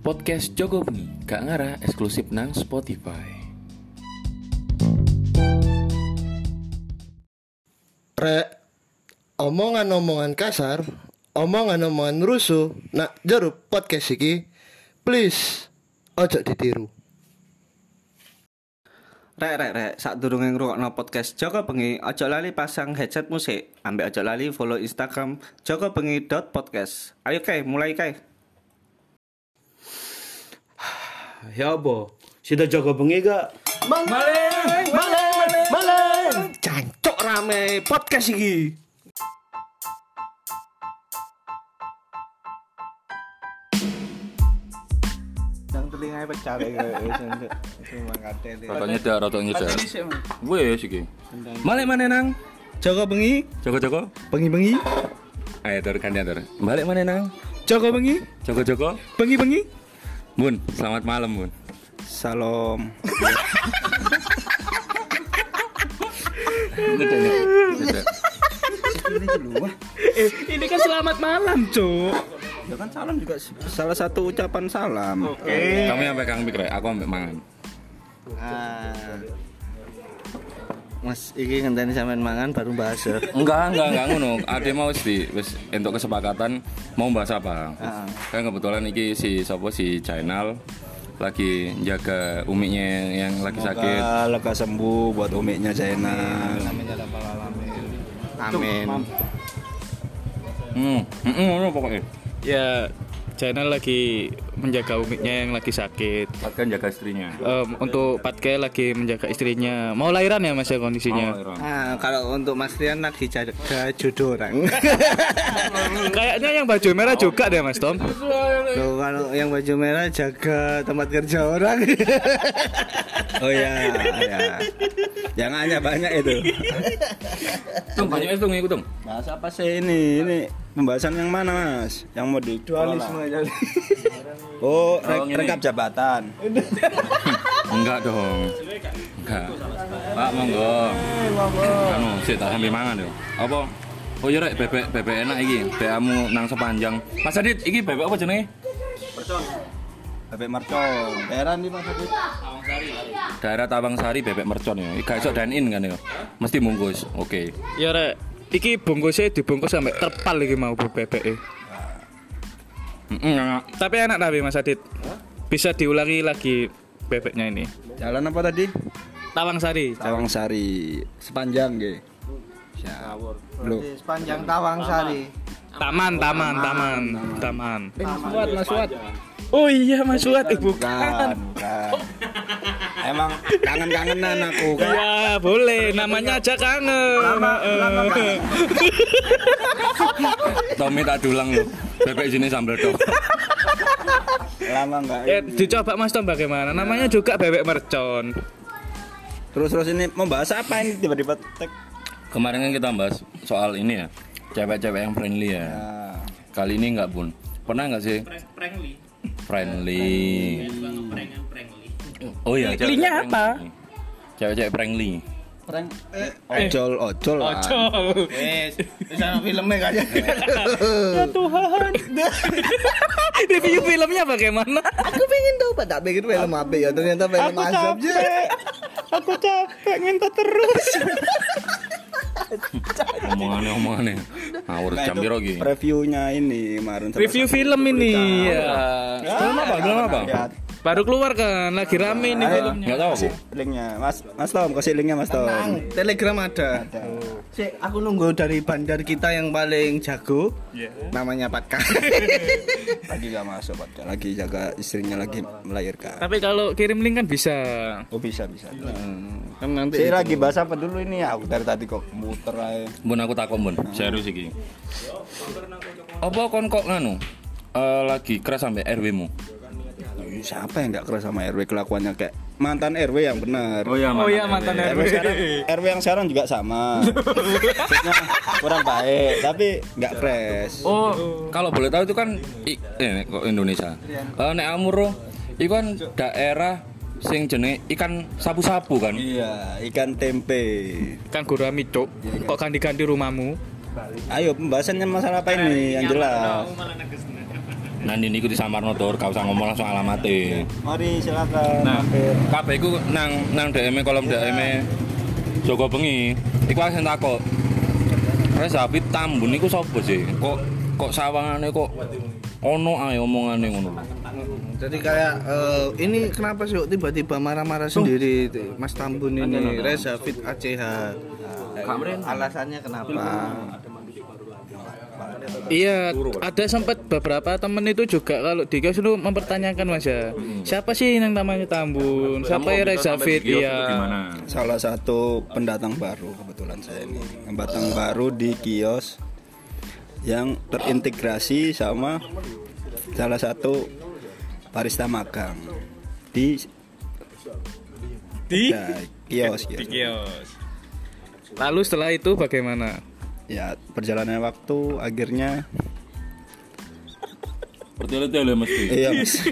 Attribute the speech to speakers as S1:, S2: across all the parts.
S1: Podcast Jogo Beni, Kak Ngara eksklusif nang Spotify.
S2: Re, omongan-omongan kasar, omongan-omongan rusuh, nak jeruk podcast iki, please ojo ditiru.
S3: Rek rek rek, saat durung ngrungokno podcast Joko Bengi, ojo lali pasang headset musik, ambek ojo lali follow Instagram jokobengi.podcast. Ayo kae, mulai kae.
S4: Ya apa? Sida jago bengi gak?
S3: Cancok rame podcast iki. Nang telingae pecah kae wis nduk. Cuma katene.
S1: Rotok nyedar, rotok nyedar. Wes iki.
S3: Malik mana nang? Joko Bengi,
S1: Joko-joko.
S3: bengi-bengi,
S1: Ayo tur gantian tur. Balik mana nang?
S3: Joko Bengi,
S1: Joko-joko.
S3: bengi-bengi.
S1: Bun, selamat malam, Bun.
S3: Salam. ya?
S1: Tidak.
S3: Eh,
S5: Ini kan selamat malam, Cuk.
S3: Ya kan salam juga salah satu ucapan salam.
S1: Kamu yang pegang mikro, aku ambek mangan.
S3: Ah. Mas, iki ngenteni sampean mangan baru bahas ya.
S1: Enggak, enggak, enggak ngono. Ade mau wis di wis entuk kesepakatan mau bahas apa.
S3: Ah.
S1: Kan kebetulan iki si sapa si Channel lagi jaga umiknya yang lagi sakit.
S3: Semoga Ah, lega sembuh buat umiknya Zainal. Amin.
S1: Hmm, hmm, hmm, ngono pokoknya.
S5: Ya, channel lagi menjaga umiknya yang lagi sakit.
S1: Kan jaga istrinya.
S5: Em, untuk Patke lagi menjaga istrinya. Mau lahiran ya Mas ya kondisinya?
S1: Iron.
S3: Ah, kalau untuk Mas Rian lagi jaga jodoh orang.
S5: Kayaknya yang baju merah juga deh Mas Tom.
S3: Tuh, kalau yang baju merah jaga tempat kerja orang. oh ya, ya. Yang hanya banyak itu.
S1: Tung, banyak itu ngikut tung.
S3: Bahas apa sih ini? Ini pembahasan yang mana, Mas? Yang mau di dualisme Oh,
S1: Oh,
S3: re-
S1: ini.
S3: rekap jabatan.
S1: Enggak dong. Enggak. Pak monggo. Anu, sik tak sambil mangan yo. Apa? Oh iya rek bebek bebek enak iki. Bebekmu nang sepanjang. Mas Adit, iki bebek apa jenenge?
S3: Bebek mercon. Daerah nih Mas Adit.
S1: Daerah Tabang Sari bebek mercon ya. Gak iso dine in kan yo. Mesti bungkus. Oke.
S5: Ya rek, iki bungkusnya dibungkus sampai terpal iki mau bu bebek. e.
S1: Heeh.
S5: Tapi enak tapi Mas Adit. Bisa diulangi lagi bebeknya ini.
S3: Jalan apa tadi?
S5: Tawang Sari.
S3: Tawang Sari. Sepanjang nggih. Loh.
S6: sepanjang Tawang Sari.
S5: Taman, taman, taman, taman. Oh iya Mas Suat, eh, bukan.
S3: Bukan, bukan. kan, Emang kangen-kangenan aku kan.
S5: Ya boleh, namanya aja kangen. Eh.
S1: Tommy tak dulang lho. Bebek jenis sambal dok.
S3: Lama enggak.
S5: Eh, dicoba Mas Tom bagaimana? Namanya juga bebek mercon.
S3: Terus-terus ini membahas apa ini tiba-tiba tek.
S1: Kemarin kan kita bahas soal ini ya. Cewek-cewek yang friendly ya.
S3: Nah,
S1: Kali ini enggak, Bun. Pernah enggak sih? Friendly. Oh iya, cewek-cewek
S5: Friendly-nya apa?
S1: friendly. Cewek-cewek friendly.
S3: Ojol, ojol. Ojol.
S6: Wes, wis ana filme kaya.
S5: Ya Tuhan. Review filmnya bagaimana?
S6: Aku pengen tahu Pak, tak pikir film apa ya, ternyata film azab je.
S5: Aku capek ngentot terus.
S1: Omongannya omongannya. Ngawur jam piro iki?
S3: Reviewnya ini kemarin. Iya, sama-
S5: Review film ini. Ya.
S1: Film apa? Film apa?
S3: Lihat
S5: Baru keluar kan, lagi rame ini filmnya.
S1: Enggak tahu aku.
S3: linknya, Mas. Mas Tom, kasih linknya Mas Tom.
S6: Telegram ada. Cek, aku nunggu dari bandar kita yang paling jago. Namanya Patka.
S3: Lagi gak masuk, Pak. Lagi jaga istrinya lagi melahirkan.
S5: Tapi kalau kirim link kan bisa.
S3: Oh bisa bisa. Hmm.
S6: Kan nanti
S3: Saya lagi bahas apa dulu ini ya? Aku dari tadi kok muter aja.
S1: Bun aku takon, Bun. Serius iki. Apa kon kok nganu? Eh, lagi keras sampai RW mu.
S3: Ih, Siapa yang nggak keras sama RW kelakuannya kayak mantan RW yang benar.
S1: iya,
S5: Oh iya mantan
S3: RW
S5: RW.
S3: sekarang RW yang sekarang juga sama. Maksudnya kurang baik tapi nggak fresh.
S1: Oh, kalau boleh tahu itu kan i, eh, kok Indonesia. Eh, nek Amuro itu kan daerah sing jenenge ikan sapu-sapu kan.
S3: Iya, ikan tempe.
S5: Kan gurami cok. Kok ganti-ganti rumahmu?
S3: Ayo pembahasannya masalah apa ini yang jelas.
S1: Nanti niku di Samarno tur, gak usah ngomong langsung alamatnya.
S3: Mari silakan
S1: Nah.
S3: mampir.
S1: Kabeh iku nang nang DM kolom DM Joko Iya. Bengi. Iku aku sing takok. Wes sapi Tambun niku sapa sih? Kok kok sawangane kok ono ae omongane ngono lho.
S7: Jadi kayak eh, ini kenapa sih kok tiba-tiba marah-marah
S4: Oh.
S7: sendiri itu? Mas Tambun ini Reza Fit ACH. Alasannya kenapa?
S5: Iya, ada sempat beberapa temen itu juga kalau di kios itu mempertanyakan mas ya, siapa sih yang namanya Tambun, siapa ya Reza Fit, iya.
S1: Gimana?
S3: Salah satu pendatang baru kebetulan saya ini. Pendatang baru di kios yang terintegrasi sama salah satu barista magang di
S5: Di
S3: ya, kios, kios.
S5: kios. Lalu setelah itu bagaimana?
S3: Ya, perjalanan waktu akhirnya
S1: Bertele-tele mesti.
S3: iya Mas.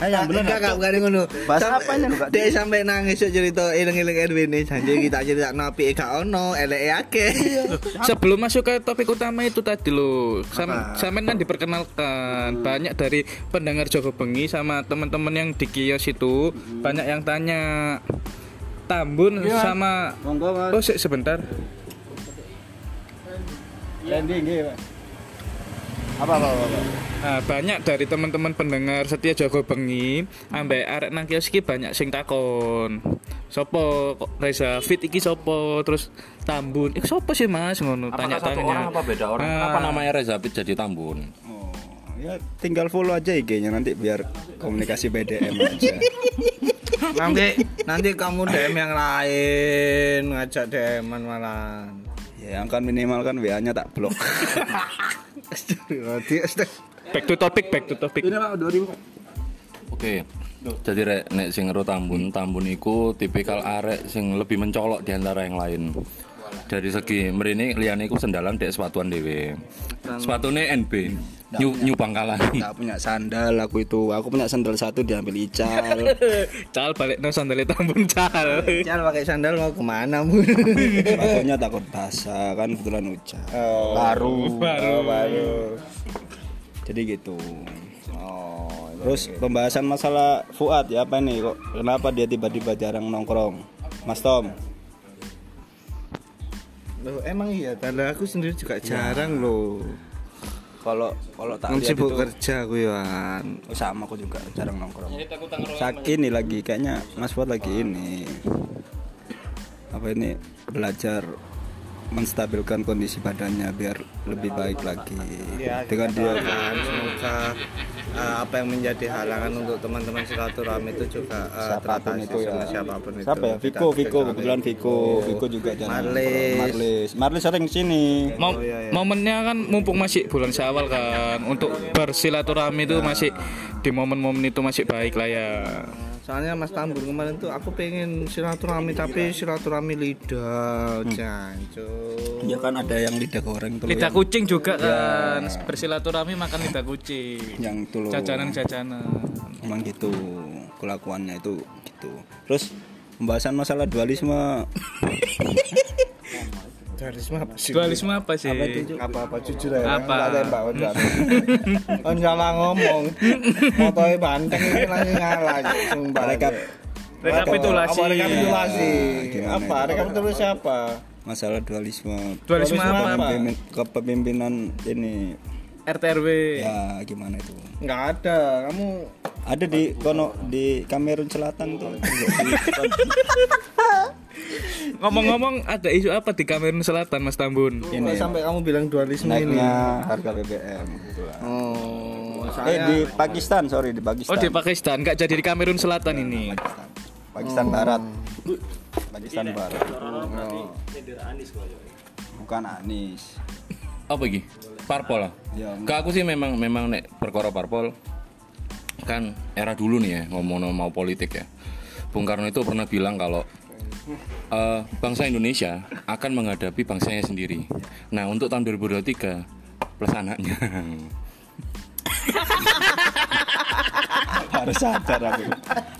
S7: Ayah, bener enggak enggak bukan ngono.
S3: Bahas
S7: Sampai
S3: apanya, Kak?
S7: dia sampai nangis yuk cerita iling-iling RW ini janji kita cerita napi gak ono, eleke akeh.
S5: Sebelum masuk ke topik utama itu tadi loh, sam sampean kan diperkenalkan banyak dari pendengar Jogo Bengi sama teman-teman yang di kios itu banyak yang tanya Tambun sama
S3: Monggo, Mas.
S5: Oh, sik, sebentar.
S3: Landing
S7: iya,
S3: nggih, Pak. Apa apa apa. apa?
S5: Nah, banyak dari teman-teman pendengar setia Jago Bengi ambek arek nang kios iki banyak sing takon. Sopo kok Reza Fit iki sopo terus Tambun. Iku sopo sih Mas ngono
S1: Apakah satu orang
S5: tanya-tanya.
S1: apa beda orang?
S5: Ah.
S1: Kenapa namanya Reza Pit jadi Tambun?
S3: Oh, ya tinggal follow aja IG-nya nanti biar komunikasi BDM aja.
S7: nanti nanti kamu DM yang lain, ngajak DM-an malah.
S3: ya, yang kan minimal kan WA-nya tak blok.
S5: Back to topic, back to topic.
S1: Oke. Jadi rek nek sing ngero Tambun, Tambun iku tipikal arek sing lebih mencolok di antara yang lain. Dari segi mrene liyane iku sendalan dek sepatuan dhewe. Sepatune NB. New, new Bangkalan.
S3: tak punya sandal aku itu. Aku punya sandal satu diambil Ical.
S5: Cal balik no sandale Tambun cal.
S7: Cal pakai sandal mau kemana bu?
S3: Sepatunya takut basah kan kebetulan hujan.
S7: Oh.
S3: baru. baru. baru. Jadi gitu. Oh,
S7: iya,
S3: terus pembahasan masalah Fuad ya apa nih kok kenapa dia tiba-tiba jarang nongkrong? Mas Tom.
S7: Loh, emang iya, tanda aku sendiri juga jarang loh.
S3: Kalau kalau tak
S7: Kan
S3: lihat
S7: sibuk
S3: itu-
S7: kerja ya, gue Wan.
S3: Oh, sama aku juga jarang nongkrong. Sak ini lagi kayaknya Mas Fuad lagi
S7: Oh.
S3: ini apa ini belajar menstabilkan kondisi badannya biar lebih baik lagi dengan dia
S7: Kan semoga eh, apa yang menjadi halangan untuk teman-teman silaturahmi itu juga eh,
S3: siapapun
S7: teratasi
S3: itu ya
S7: sama siapapun itu.
S3: siapa ya Viko
S7: Tidak-
S3: Viko
S7: tidak- Oh.
S3: kebetulan Viko Viko juga jarang
S7: Marlis.
S3: Marlis Marlis sering kesini
S5: Mom- momennya kan mumpung masih bulan Syawal kan untuk bersilaturahmi itu masih di momen-momen itu masih baik lah ya.
S7: Soalnya Mas Tambun kemarin tuh aku pengen silaturahmi tapi silaturahmi lidah,
S3: Hmm.
S7: jancuk.
S3: ya kan ada yang lidah goreng tuh
S5: Lidah kucing juga kan bersilaturahmi makan lidah kucing.
S3: yang, yang tuh loh.
S5: Jajanan-jajanan.
S3: emang gitu kelakuannya itu gitu terus pembahasan masalah dualisme
S7: Karisma apa sih?
S5: Dualisme apa sih?
S7: apa-apa jujur ya, aja
S5: Apa?
S7: Nggak ada yang bangun on salah Kan ngomong motoy banteng ini lagi ngalah sumpah
S3: Rekap. Ya,
S5: Rekapitulasi.
S7: apa rekapitulasi
S3: Gimana
S7: apa
S3: itu?
S7: rekapitulasi apa
S3: masalah dualisme
S5: Dualisme apa?
S3: Kepemimpinan- kepemimpinan ini
S5: RTRW.
S3: ya gimana itu
S7: nggak ada kamu
S3: ada di kono di Kamerun Selatan tuh
S5: Ngomong-ngomong ada isu apa di Kamerun Selatan Mas Tambun?
S7: ini sampai kamu bilang dualisme ini
S3: naiknya harga BBM gitu lah.
S7: oh
S3: eh
S7: saya
S3: di Pakistan sorry di Pakistan
S5: Oh di Pakistan, nggak jadi di Kamerun Selatan ini.
S3: Pakistan
S7: Oh.
S3: Barat Pakistan Barat Oh. bukan Anies
S1: Apa iki? Parpol lah.
S3: Ya,
S1: Ke aku sih memang memang nek perkara parpol kan era dulu nih ya ngomong mau politik ya. Bung Karno itu pernah bilang kalau eh, bangsa Indonesia akan menghadapi bangsanya sendiri. Nah, untuk tahun 2023 plus anaknya.
S3: harus sadar aku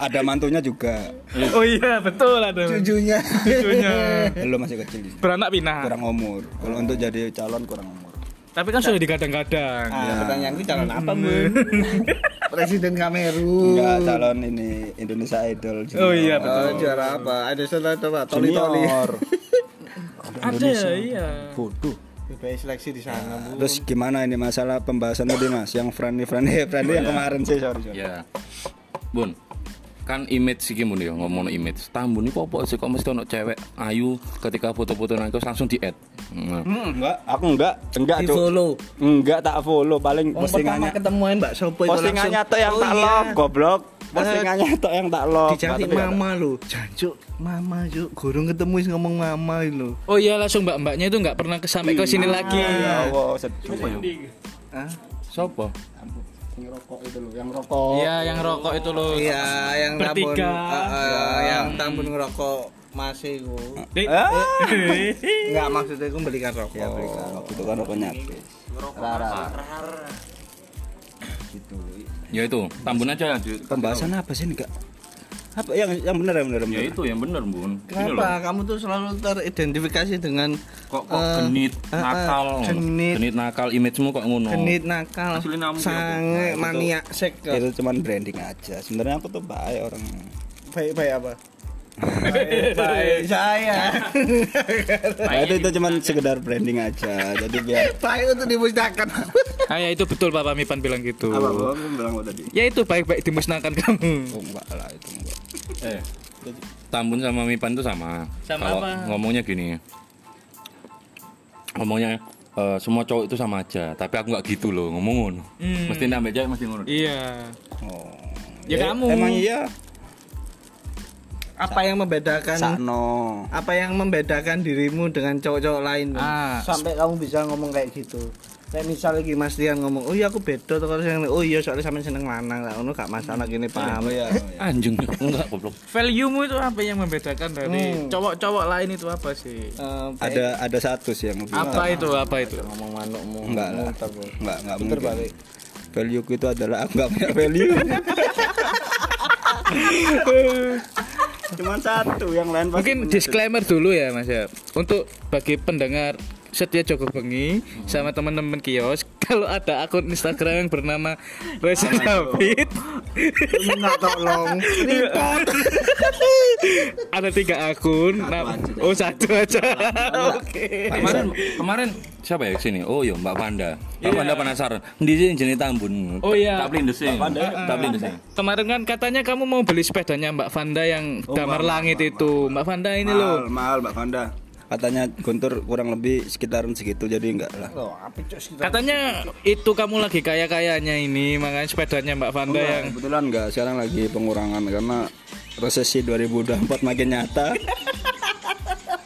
S3: ada mantunya juga
S5: Oh iya betul ada.
S7: cucunya
S5: Cucunya.
S3: belum masih kecil
S5: Beranak pinak.
S3: kurang umur kalau untuk jadi calon kurang umur
S5: Tapi kan sudah digadang-gadang.
S3: Ya.
S7: pertanyaanku calon apa bu?
S3: Hmm.
S7: Presiden Kamerun.
S3: Enggak calon ini Indonesia Idol Junior.
S5: Oh iya, betul.
S7: Oh, juara apa? Ada salah coba. Toli Toli.
S3: Junior.
S5: Ada ya, iya.
S3: Bodoh.
S7: Baik seleksi di sana bu.
S3: Terus gimana ini masalah pembahasan tadi Mas? Yang Franny Franny Franny yang kemarin sih sorry. sorry.
S1: Ya. Bun. Kan image sih Bun ya ngomong image. Tambun ini popo sih kok mesti ono cewek ayu ketika foto-foto nang terus langsung di-add. Nah,
S3: Enggak, aku enggak, enggak
S7: Di
S3: Cuk.
S7: follow.
S3: Enggak tak follow paling
S7: Wong pertama
S3: postingannya.
S7: ketemuan Mbak Sopo itu
S3: Postingannya
S7: langsung,
S3: tuh yang
S7: "Oh
S3: tak
S7: iya,
S3: love goblok. Postingannya tuh yang tak love.
S7: Dicari
S3: Tapi enggak
S7: mama lo. Jancuk, mama juk. Gurung ketemu wis ngomong mama lo.
S5: Oh iya langsung mbak-mbaknya itu nggak pernah ke sampai ke sini
S3: tak-
S5: lagi.
S3: Ya Allah, sedih.
S1: Sopo?
S3: Yang rokok itu loh, yang rokok.
S5: Iya, yang rokok itu loh.
S7: Iya, yang
S5: Bertiga.
S7: tambun- eh, eh, yang tambun ngerokok masih ku.
S5: Dik.
S7: Enggak maksudnya aku belikan rokok.
S3: Ya berikan waktu itu kan rokok nyapis. Rara. Gitu.
S1: Ya itu, tambun aja yang di-
S3: Pembahasan apa sih enggak? Apa yang yang benar yang benar yang
S1: Ya
S3: benar.
S1: itu yang bener, Bun. Gini
S7: Kenapa
S1: loh.
S7: kamu tuh selalu teridentifikasi dengan
S1: Kok kok
S7: eh,
S1: genit
S7: eh, eh,
S1: nakal.
S7: genit,
S1: genit nakal image-mu kok ngono.
S7: genit nakal,
S1: Asli namu ya, Bu.
S7: sange maniak sek.
S3: Itu cuman branding aja. Sebenarnya aku tuh baik orang.
S7: Baik-baik apa? Baik saya.
S3: Nah, itu itu cuman sekedar branding aja. Jadi biar
S7: Baik untuk dimusnahkan.
S5: Ah, ya itu betul Papa Mipan bilang gitu.
S3: apa gua aku bilang gua tadi.
S5: Ya itu baik-baik dimusnahkan kamu.
S3: Oh, enggak lah itu enggak.
S1: Eh, Tambun sama Mipan tuh sama.
S5: Sama
S1: Kalau
S5: apa?
S1: Ngomongnya gini. Ngomongnya eh, semua cowok itu sama aja, tapi aku nggak gitu loh ngomong ngono.
S5: Hmm.
S1: Mesti nambah cewek mesti ngono.
S5: Iya.
S3: Oh.
S5: Ya kamu.
S3: Emang iya.
S7: Apa yang
S3: kan?
S7: membedakan
S3: Sakno.
S7: apa yang membedakan dirimu dengan cowok-cowok lain Bang?
S5: Ah.
S7: sampai kamu bisa ngomong kayak gitu kayak misal lagi Mas Rian ngomong oh iya aku beda terus yang oh iya soalnya sampean seneng lanang lah ngono gak masalah gini paham
S3: Oh,
S7: ya
S3: iya,
S1: Anjing, enggak goblok.
S5: Value-mu itu apa yang membedakan dari
S7: Hmm.
S5: cowok-cowok lain itu apa sih?
S3: Ada ada satu sih yang lebih
S5: Apa itu? Apa itu?
S7: ngomong manukmu
S3: Enggak lah. Enggak, enggak
S7: Puter
S3: mungkin.
S7: balik.
S3: Value ku itu adalah aku enggak punya value. Cuman satu, yang lain pasti
S5: Mungkin
S3: punya.
S5: disclaimer dulu ya Mas ya. Untuk bagi pendengar setia Joko Bengi sama teman-teman kios kalau ada akun Instagram yang bernama Reza David
S7: minta tolong
S5: ada tiga akun Nah, oh satu aja oke
S1: Kemarin kemarin siapa ya kesini? Oh iya Mbak Panda. Mbak Panda penasaran. Di sini jenis Tambun.
S5: Oh, iya.
S1: Tak pelindus sih. Tak pelindus sih.
S5: kemarin kan katanya kamu mau beli sepedanya Oh, Mbak Vanda yang damar langit itu Mbak Vanda ini loh
S3: mahal, mahal Mbak Fanda. Katanya Guntur kurang lebih sekitaran segitu jadi enggak lah.
S5: katanya itu kamu lagi kaya kayanya ini makanya sepedanya Oh, Mbak Vanda yang
S3: Kebetulan enggak sekarang lagi pengurangan karena resesi 2024 makin nyata.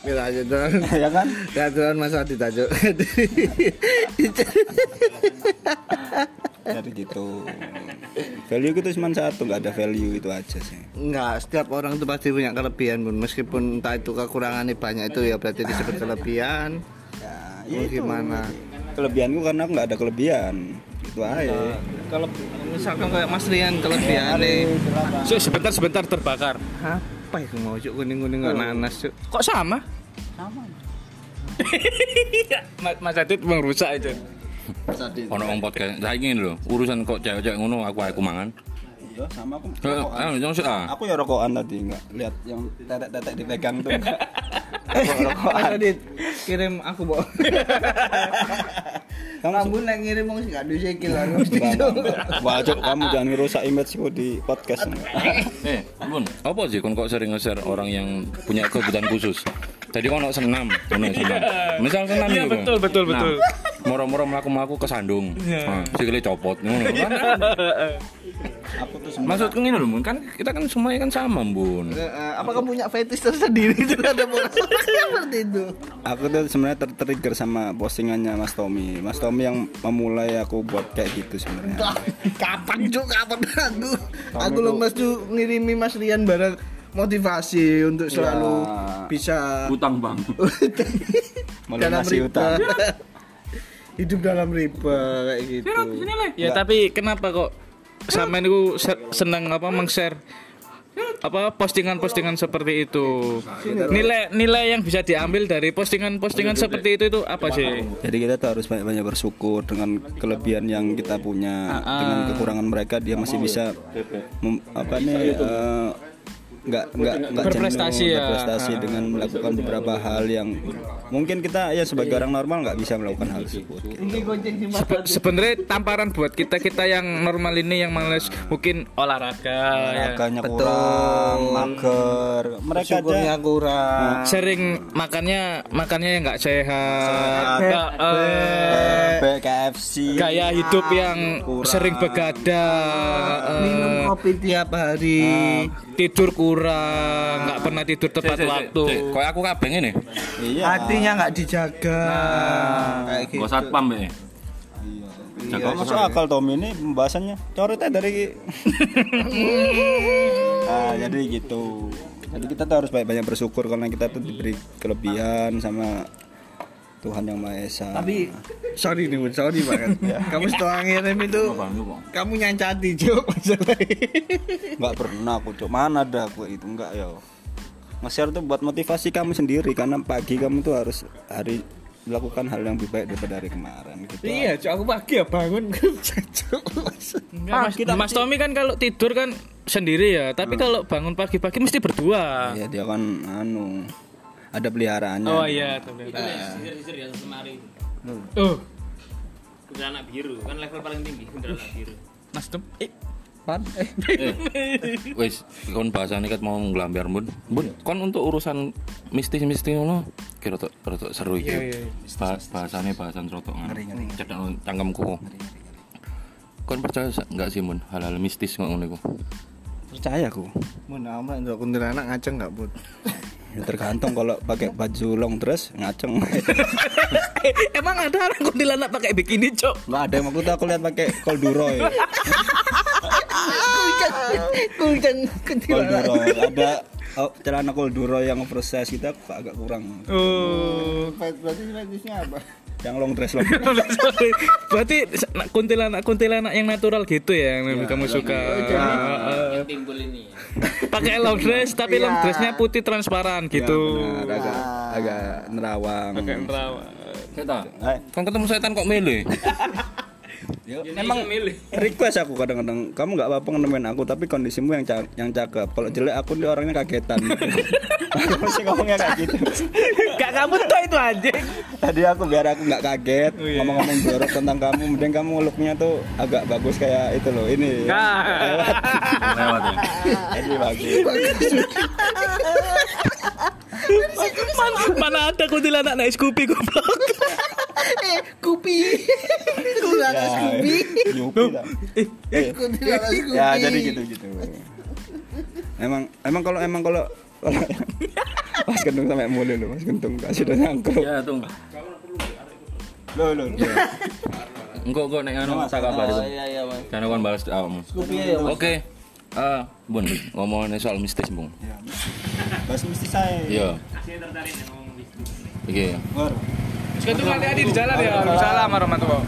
S7: kita aja tuh
S3: ya kan?
S7: ya tuh Mas Adi tajuk
S3: Jadi gitu. Value itu cuma satu, enggak ada value itu aja sih.
S7: Enggak, setiap orang itu pasti punya kelebihan pun Meskipun entah itu kekurangannya banyak itu ya berarti disebut kelebihan
S3: Ya,
S7: Mau gimana
S3: Kelebihanku karena aku enggak ada kelebihan. Itu aja.
S7: kalau misalkan kayak Mas Rian kelebihannya
S5: So, sebentar sebentar terbakar
S7: apa itu mau cuk kuning kuning nggak nanas cuk
S5: kok sama sama Mas Adit merusak itu
S1: Ono wong podcast. Saiki ngene lho, urusan kok cewek-cewek ngono aku aku mangan.
S3: Ya, sama aku.
S1: Eh, eh, jangan sih, ah.
S3: Aku ya rokokan tadi enggak lihat yang tetek-tetek dipegang tuh. enggak.
S7: Mas Adit kirim aku bawa kamu neng ngirim mau nggak duit sekil aku
S3: Wah, Cuk, kamu jangan ngerusak imageku di podcast. enggak.
S1: Eh, Bun, apa sih kon kok sering nge-share orang yang punya kebutuhan khusus? Tadi kono senam, kono senam. Misal senam
S5: Iya,
S1: gitu.
S5: betul, betul, betul. Iya.
S1: Moro-moro melaku-melaku kesandung. Nah, sikile copot ngono. Kan, Maksudku ngene lho, Bun. Kan kita kan semuanya kan sama, Bun.
S7: Eh, apa kamu punya fetish tersendiri itu ada orang seperti itu
S3: Aku tuh sebenarnya tertrigger sama postingannya Mas Tommy. Mas Tommy yang memulai aku buat kayak gitu sebenarnya.
S7: Ah, kapan cuk kapan aku aku lemes cuk ngirimi Mas Rian barang motivasi untuk selalu
S3: Ya.
S7: bisa
S1: Utang, Bang.
S7: dalam
S3: Melunasi
S7: riba
S3: utang.
S7: hidup dalam riba kayak gitu
S5: Iya. Ya tapi kenapa kok sama ini ku se- seneng apa meng-share apa postingan-postingan seperti itu. Nilai nilai yang bisa diambil dari postingan-postingan seperti itu itu apa sih?
S3: Jadi kita tuh harus banyak-banyak bersyukur dengan kelebihan yang kita punya, dengan kekurangan mereka dia masih bisa mem- apa nih eh, nggak nggak nggak
S5: Berprestasi
S3: jenuh,
S5: ya.
S3: berprestasi dengan melakukan beberapa hal yang mungkin kita ya sebagai orang normal nggak bisa melakukan hal tersebut. gitu.
S5: Sebe- Sebenarnya tamparan buat kita kita yang normal ini yang males mungkin olahraga, ya.
S3: Olahraganya kurang, mager, mereka aja
S7: kurang
S5: sering makannya makannya yang nggak sehat, nggak, eh,
S3: bebek, KFC,
S5: gaya hidup yang sering begadang, eh,
S7: kopi tiap hari
S5: tidur kurang, nggak pernah tidur tepat waktu.
S1: Kayak aku kabeh ngene.
S3: iya,
S7: hatinya nggak dijaga kayak gitu
S1: Kok satpam ya. Jaga
S3: Gak Iya, masuk akal Tom ini pembahasannya coretnya dari ah jadi gitu jadi kita tuh harus banyak-banyak bersyukur karena kita tuh diberi kelebihan sama Tuhan yang Maha Esa Ya.
S7: tapi sorry nih Bun, sorry banget kamu setelah ngirim itu kamu nyancati Cuk, masalahnya.
S3: nggak pernah aku cok mana ada aku itu nggak ya nge-share tuh buat motivasi kamu sendiri karena pagi kamu tuh harus hari melakukan hal yang lebih baik daripada hari kemarin gitu
S7: iya Cuk, aku pagi ya bangun Cuk.
S5: Nggak, mas, Mas Tommy kan kalau tidur kan sendiri ya, tapi kalau bangun pagi-pagi mesti berdua.
S3: ya dia kan anu ada peliharaannya
S5: Iya.
S8: Nah,
S5: Oh iya, ternyata. Oh,
S8: Kuntilanak biru kan level paling tinggi kuntilanak biru.
S5: Mas Tom, eh,
S1: Wis, kon bahasane ket mau nglambiar mun. Mun, kon untuk urusan mistis-mistis ngono kira tok kira tok seru iki. Ba- Bahasane bahasan rotokan. Cedak nang cangkemku. Kon percaya sa- nggak sih mun hal-hal mistis kok ngono iku?
S3: percaya aku
S7: mau nama untuk kuntilanak ngaceng nggak bud
S3: Ya, tergantung kalau pakai baju long dress ngaceng
S5: eh, emang ada orang kuntilanak pakai bikini, Cok?
S3: nggak ada yang aku tuh aku lihat pakai ya. kolduroy kolduroy ada oh, celana kolduroy yang proses kita agak kurang
S5: Oh.
S7: berarti fetishnya apa
S3: yang long dress long dress.
S5: Berarti kuntilanak kuntilanak yang natural gitu ya yang kamu suka. Heeh.
S8: Timbul ini.
S5: Pakai long dress tapi long dressnya putih transparan gitu.
S3: Benar, agak agak nerawang
S1: Setan.
S3: Eh,
S1: Kon ketemu setan kok milih.
S8: Memang milih.
S3: request aku kadang-kadang kamu nggak apa-apa nemenin aku tapi kondisimu yang ca- yang cakep kalau jelek aku nih orangnya kagetan Aku masih ngomongnya kayak gitu
S5: Gak kamu tuh itu anjing.
S3: tadi aku biar aku nggak kaget ngomong-ngomong jorok tentang kamu mending kamu looknya tuh agak bagus kayak itu loh ini
S1: Lewat ya.
S3: jadi bagus
S5: Man- mana ada kuntilanak naik Scoopy goblok.
S3: ya, Yupi lah. Eh, ya jadi gitu gitu emang emang kalau emang kalau Mas Kentung sampai mulai loh Mas Kentung gak sudah nyangkut
S1: Ya
S3: Iya.
S1: tung.
S3: Loh loh Oh, iya, loh.
S1: Engko kok nek ngono sak kabar. Bun. Jangan kon balas awakmu. Oke. Eh, Bun, ngomongin soal mistis, Bung.
S3: Bahas mesti saya
S1: Iya. Iki.
S3: War.
S5: Itu hati-hati di jalan ya. Waalaikumsalam warahmatullahi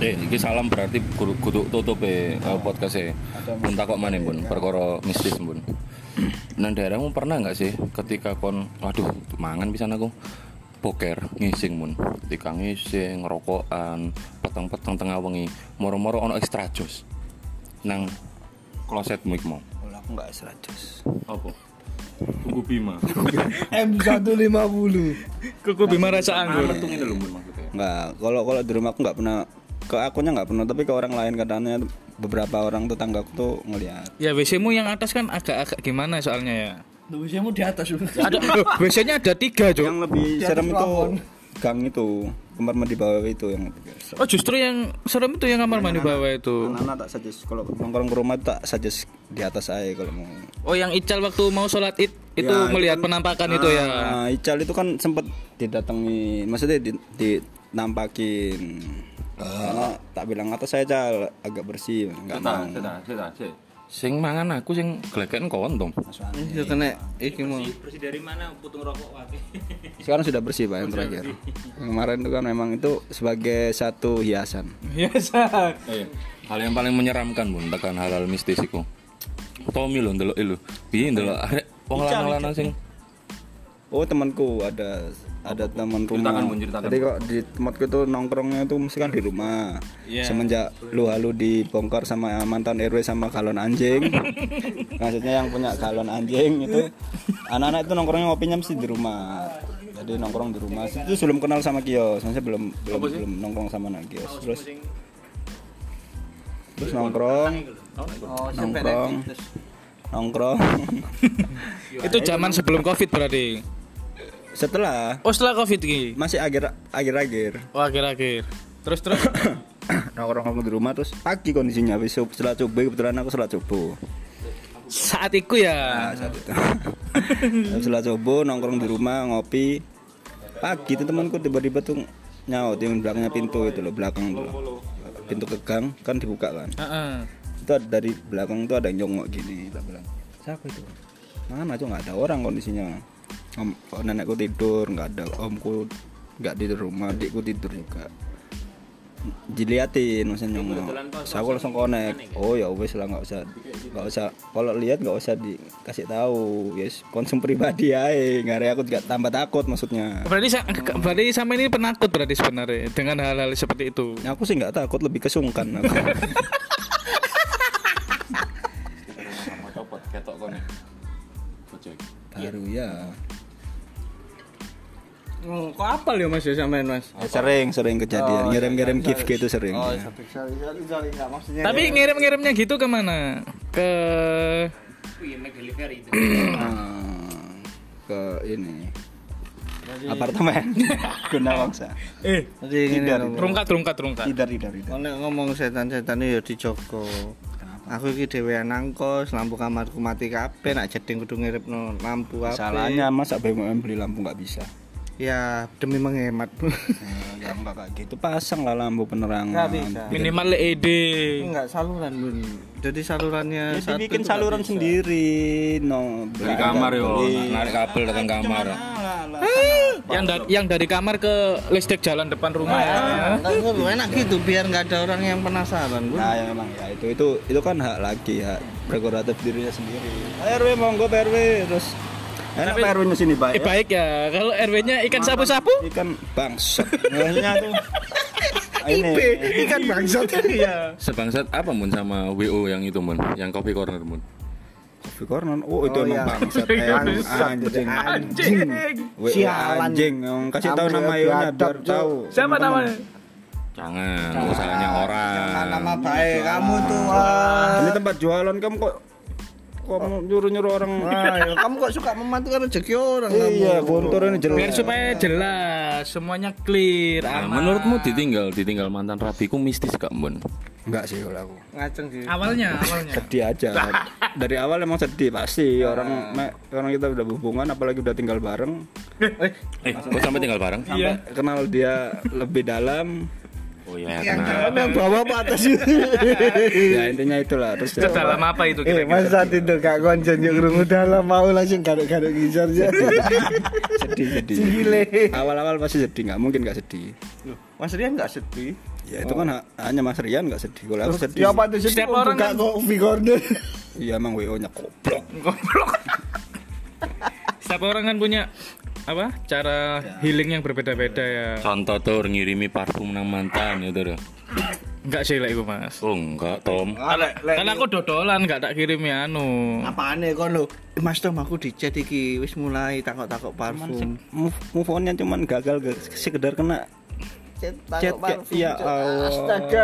S1: Eh, iki salam berarti kudu kudu tutup e eh, podcast e. Mun takok maneh, Bun, perkara mistis, Bun. Nang daerahmu pernah nggak sih ketika kon waduh mangan pisan aku poker ngising mun ketika ngising ngerokokan petang-petang tengah wengi moro-moro ono extra jus nang klosetmu iku mau
S3: Kalau aku gak serajus
S1: apa tunggu bima
S7: M150
S5: Kuku Bima rasa anggur.
S1: itu ngene lho mun maksudnya
S3: Enggak, kalau kalau di rumah aku nggak pernah ke akunya nggak pernah tapi ke orang lain katanya beberapa orang tetangga aku tuh ngelihat
S5: Ya WC-mu yang atas kan agak-agak gimana soalnya ya.
S7: Tubuhmu di atas Bun.
S5: Ada loh, WC-nya ada tiga, Cok.
S3: yang lebih serem itu gang itu kamar mandi bawah itu yang lebih serem.
S5: Oh justru yang serem itu yang kamar mandi bawah itu.
S3: anak tak saja kalau nongkrong ke rumah tak saja di atas aja kalau mau
S5: Oh yang Ical waktu mau sholat id itu melihat penampakan itu ya.
S3: nah Ical itu kan sempet didatangi maksudnya di, dinampakin karena tak bilang atas saya Cal agak bersih nggak mau
S1: Seta, seta, seta. Sing mangan aku sing gleken kon dong.
S7: Itu kena iki mau
S8: Bersih dari mana putung rokok wakil.
S3: sekarang sudah bersih pak yang terakhir kemarin itu kan memang itu sebagai satu hiasan
S5: Biasa.
S1: Iya. Hal yang paling menyeramkan bun tekan hal-hal mistis iku. Tommy lho ndelok lho. Piye ndelok arek wong lanang-lanang sing
S3: Oh temanku ada ada teman rumah.
S1: Ceritakan, Bun, ceritakan.
S3: Jadi kok di tempatku tuh nongkrongnya tuh mesti kan di rumah.
S1: Iya.
S3: Semenjak lu halu dibongkar sama mantan RW sama galon anjing. Maksudnya yang punya galon anjing itu anak-anak itu nongkrongnya ngopinya mesti di rumah. Jadi nongkrong di rumah. Itu belum kenal sama kios, maksudnya belum belum, belum nongkrong sama anak kios.
S1: Oh,
S3: Terus terus nongkrong,
S1: Oh,
S3: nongkrong, nongkrong.
S5: Itu zaman sebelum Covid berarti.
S3: Setelah
S5: Oh, setelah Covid iki.
S3: masih akhir akhir akhir
S5: Oh, akhir-akhir. Terus terus
S3: nongkrong nongkrong di rumah terus pagi kondisinya habis sub- setelah coba kebetulan aku setelah coba
S5: saat itu ya.
S3: nah, saat itu Habis setelah coba nongkrong di rumah ngopi pagi tuh temanku tiba-tiba tuh nyaut yang belakangnya pintu itu loh belakang tuh loh. pintu ke gang kan dibuka kan
S5: Heeh.
S3: itu ada- dari belakang tuh ada yang nyongok gini tak bilang siapa itu mana tuh nggak ada orang kondisinya om oh, nenekku tidur nggak ada omku nggak di rumah adikku tidur juga diliatin maksudnya nyongok saya aku langsung connect oh ya wes lah nggak usah nggak usah kalau lihat nggak usah dikasih tahu yes konsum pribadi aja nggak ada aku juga tambah takut maksudnya
S5: Berarti sa- berarti sama ini penakut berarti sebenarnya dengan hal-hal seperti itu.
S3: Nah, aku sih nggak takut lebih kesungkan aku.
S1: copot ketok kone. Bocok.
S3: baru ya
S4: Oh, kok apal ya Mas ya sampean Mas?
S3: sering sering kejadian ngirim-ngirim gift gitu sering
S7: Oh,
S3: ya.
S7: sorry, sorry, sorry, sorry, nggak maksudnya. ya.
S5: Tapi ngirim-ngirimnya gitu kemana? Ke
S3: Ah, ke ini apartemen Gunawangsa
S5: eh
S7: Jadi gini, loh.
S5: rungkat rungkat rungkat.
S3: tidak tidak tidak
S7: Oleh ngomong setan-setan ya dijogo. Aku iki dhewean nang kos, lampu kamarku mati kabeh, nak jeding kudu ngiripno lampu apa.
S3: salahnya masa BUMN beli lampu nggak bisa
S7: Ya demi menghemat.
S3: Nah, ya nggak kayak gitu pasang lah lampu penerangan
S7: Nggak bisa.
S5: Minimal LED.
S7: Enggak saluran, Bun. Jadi salurannya
S3: ya
S7: satu
S3: dibikin
S7: itu nggak
S3: saluran
S7: bisa.
S3: sendiri no
S1: Di kamar yo, narik kabel datang kamar.
S5: Yang da- yang dari kamar ke listrik jalan depan rumah.
S7: Nggak perlu, enak gitu biar nggak ada orang yang penasaran, Bun.
S3: nah ya memang ya itu itu itu kan hak lagi hak prerogatif dirinya sendiri Pak RW monggo Pak RW terus enak Pak RW nya sini Pak
S5: Eh
S3: ya.
S5: baik ya, kalau RW-nya ikan sapu-sapu
S3: ikan bangsat Maksudnya tuh ini
S7: Ikan bangsat. Iya.
S1: Sebangsat apa mun sama WO yang itu mun, yang coffee corner mun.
S3: Coffee corner. Oh, itu emang bangsat. Eh, anjing. Anjing. Weh, Anjing. Yang Kasih tahu nama Yona biar tahu.
S5: Siapa namanya?
S1: Jangan, usahanya orang.
S7: Nama baik kamu tuh.
S3: Ini tempat jualan kamu kok kok mau nyuruh-nyuruh orang.
S7: Wah,
S3: ah.
S7: ya, kamu kok suka mematukan rezeki orang kamu.
S3: Iya, gontor ini jelek.
S5: Biar supaya jelas, semuanya clear.
S1: Nah,
S5: aman.
S1: menurutmu ditinggal ditinggal mantan rapiku mistis gak mun?
S3: Enggak sih kalau aku.
S7: Ngaceng sih.
S5: awalnya, awalnya.
S3: Sedih aja. Dari awal emang sedih pasti orang me- orang kita udah hubungan apalagi udah tinggal bareng
S1: Eh, kok sampai tinggal bareng?
S5: Iya.
S3: sampai kenal dia lebih dalam.
S1: Oh iya, tenang.
S7: Yang bawa ke atas itu.
S3: Ya intinya itulah terus ya.
S5: Dalam Iya. apa itu
S7: Eh,
S5: kira-kira?
S7: masa tidur gak konjen yuk rungu dalam mau langsung garuk-garuk gijar aja.
S3: sedih sedih. Awal-awal pasti sedih, nggak mungkin nggak sedih.
S7: Mas Rian gak sedih.
S3: Ya itu kan ha- hanya Mas Rian nggak sedih kalau aku sedih.
S7: Ya apa tuh sedih?
S5: Setiap orang
S7: gak kok figurnya.
S3: Iya emang WO nya goblok.
S5: Setiap orang kan punya apa cara healing yang berbeda-beda ya.
S1: Contoh tuh ngirimi parfum nang mantan itu tuh.
S5: Enggak sih lah itu mas.
S1: Oh enggak Tom.
S5: Karena aku dodolan nggak tak kirim ya anu.
S7: Apaan ya kon lo? Mas Tom aku dicet iki wis mulai takok-takok parfum.
S3: Move, move onnya cuman gagal gak sekedar kena
S7: Cet
S3: chat kayak ya Allah.
S7: Astaga.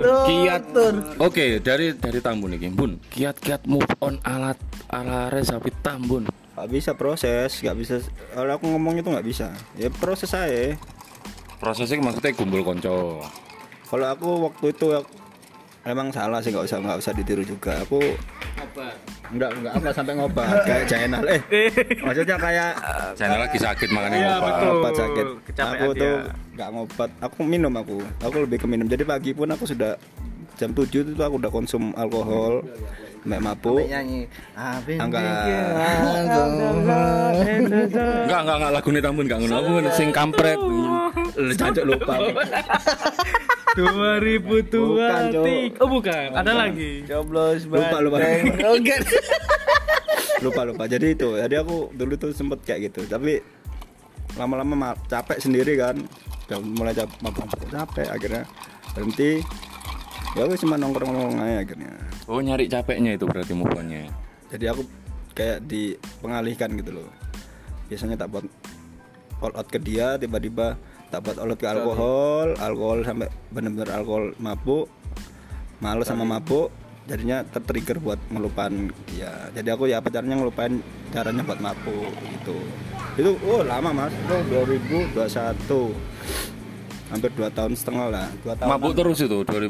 S7: Loh,
S1: Kiat.
S7: tur.
S1: Oke, dari dari Tambun iki, Bun. Kiat-kiat move on ala ala Rezapi Tambun.
S3: Gak bisa proses, gak bisa. Kalau aku ngomong itu nggak bisa. Ya proses aja.
S1: Prosesnya maksudnya kumpul konco.
S3: Kalau aku waktu itu aku- emang salah sih nggak usah nggak usah ditiru juga. Aku Enggak, enggak apa sampai ngobat kayak channel eh maksudnya kayak
S1: Channel lagi sakit makanya
S3: Iya,
S1: ngobat.
S3: obat sakit. Aku tuh nggak ngobat. Aku minum aku. Aku lebih ke minum. Jadi pagi pun aku sudah jam 7 itu aku udah konsum alkohol, mek mabuk.
S7: Nyanyi. Abin.
S3: Enggak. Iya.
S1: Enggak, enggak, enggak lagu nih Tambun enggak ngono. Aku sing kampret.
S3: Cancuk lupa. Bukan, Cok.
S5: 2023. Oh, bukan. Ada lagi.
S7: Coblos
S3: Lupa, lupa.
S7: banteng. Oke.
S3: lupa lupa jadi itu jadi aku dulu tuh sempet kayak gitu tapi lama-lama ma- capek sendiri kan udah mulai cap- mabuk mabuk capek akhirnya berhenti ya aku cuma nongkrong nongkrong aja akhirnya
S1: Oh nyari capeknya itu berarti mukanya.
S3: jadi aku kayak dipengalihkan gitu loh biasanya tak buat all out ke dia tiba-tiba tak buat all out ke alkohol alkohol sampai bener-bener alkohol mabuk males sama mabuk jadinya tertrigger buat ngelupain dia jadi aku ya pacarnya ngelupain caranya buat mabuk gitu itu oh lama mas itu 2021 hampir dua tahun setengah lah dua tahun
S1: Mabuk terus itu 2000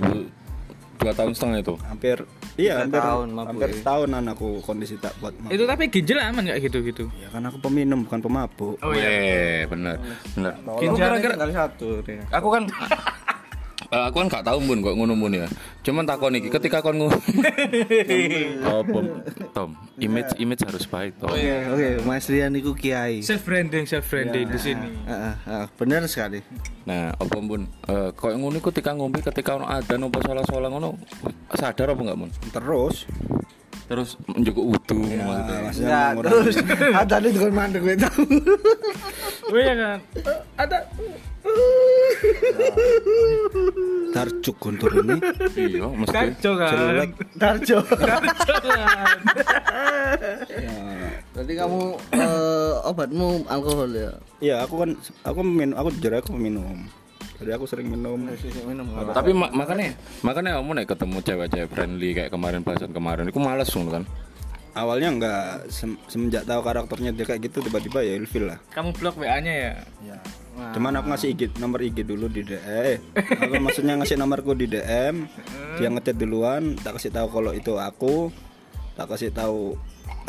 S1: dua tahun setengah itu.
S3: hampir iya hampir
S7: tahun mabuk
S3: hampir
S7: ya.
S3: setahunan aku kondisi tak buat mabuk
S5: Itu tapi ginjal aman nggak gitu-gitu?
S3: Ya kan aku peminum bukan pemabuk.
S1: Oh iya, bener, bener. Aku kira-kira
S7: Tinggal satu. Ria.
S1: aku kan Eh, aku kan gak tahu mun kok ngono mun ya. Cuman takon iki ketika kon ngono. oh, Tom, Tom, image image harus baik, Tom.
S7: Oke, oke, Mas Rian iku kiai.
S5: Self branding, self
S3: Ya.
S5: branding di sini.
S7: Heeh, heeh, bener sekali.
S1: Nah, apa mun eh kok ngono iku ketika ngombe ketika ono adzan apa salah-salah ngono sadar apa enggak mun?
S3: Terus ah,
S1: Terus njukuk wudu maksudnya.
S7: Enggak, terus ada nih tukang mandek gue tahu.
S5: Oh iya kan. Eh, Ada
S3: tarjuk guntur ini
S1: Iya, mesti.
S5: kacau kan.
S7: Tarjo.
S5: Kacau kan.
S7: Berarti kamu eh, obatmu alkohol ya?
S3: Iya, aku kan aku minum, aku jujur aku minum. Jadi aku sering minum.
S7: Iya, Minum
S1: Tapi ma- makanya makanya kamu nek ketemu cewek-cewek friendly kayak kemarin bahasan kemarin, aku males ngono kan.
S3: Awalnya enggak sem- semenjak tahu karakternya dia kayak gitu tiba-tiba ya ilfil lah.
S5: Kamu blok WA-nya ya.
S3: Cuman aku ngasih IG nomor IG dulu di DM. Eh, aku maksudnya ngasih nomorku di DM. Dia
S7: Hmm.
S3: ngetet duluan, tak kasih tahu kalau itu aku. Tak kasih tahu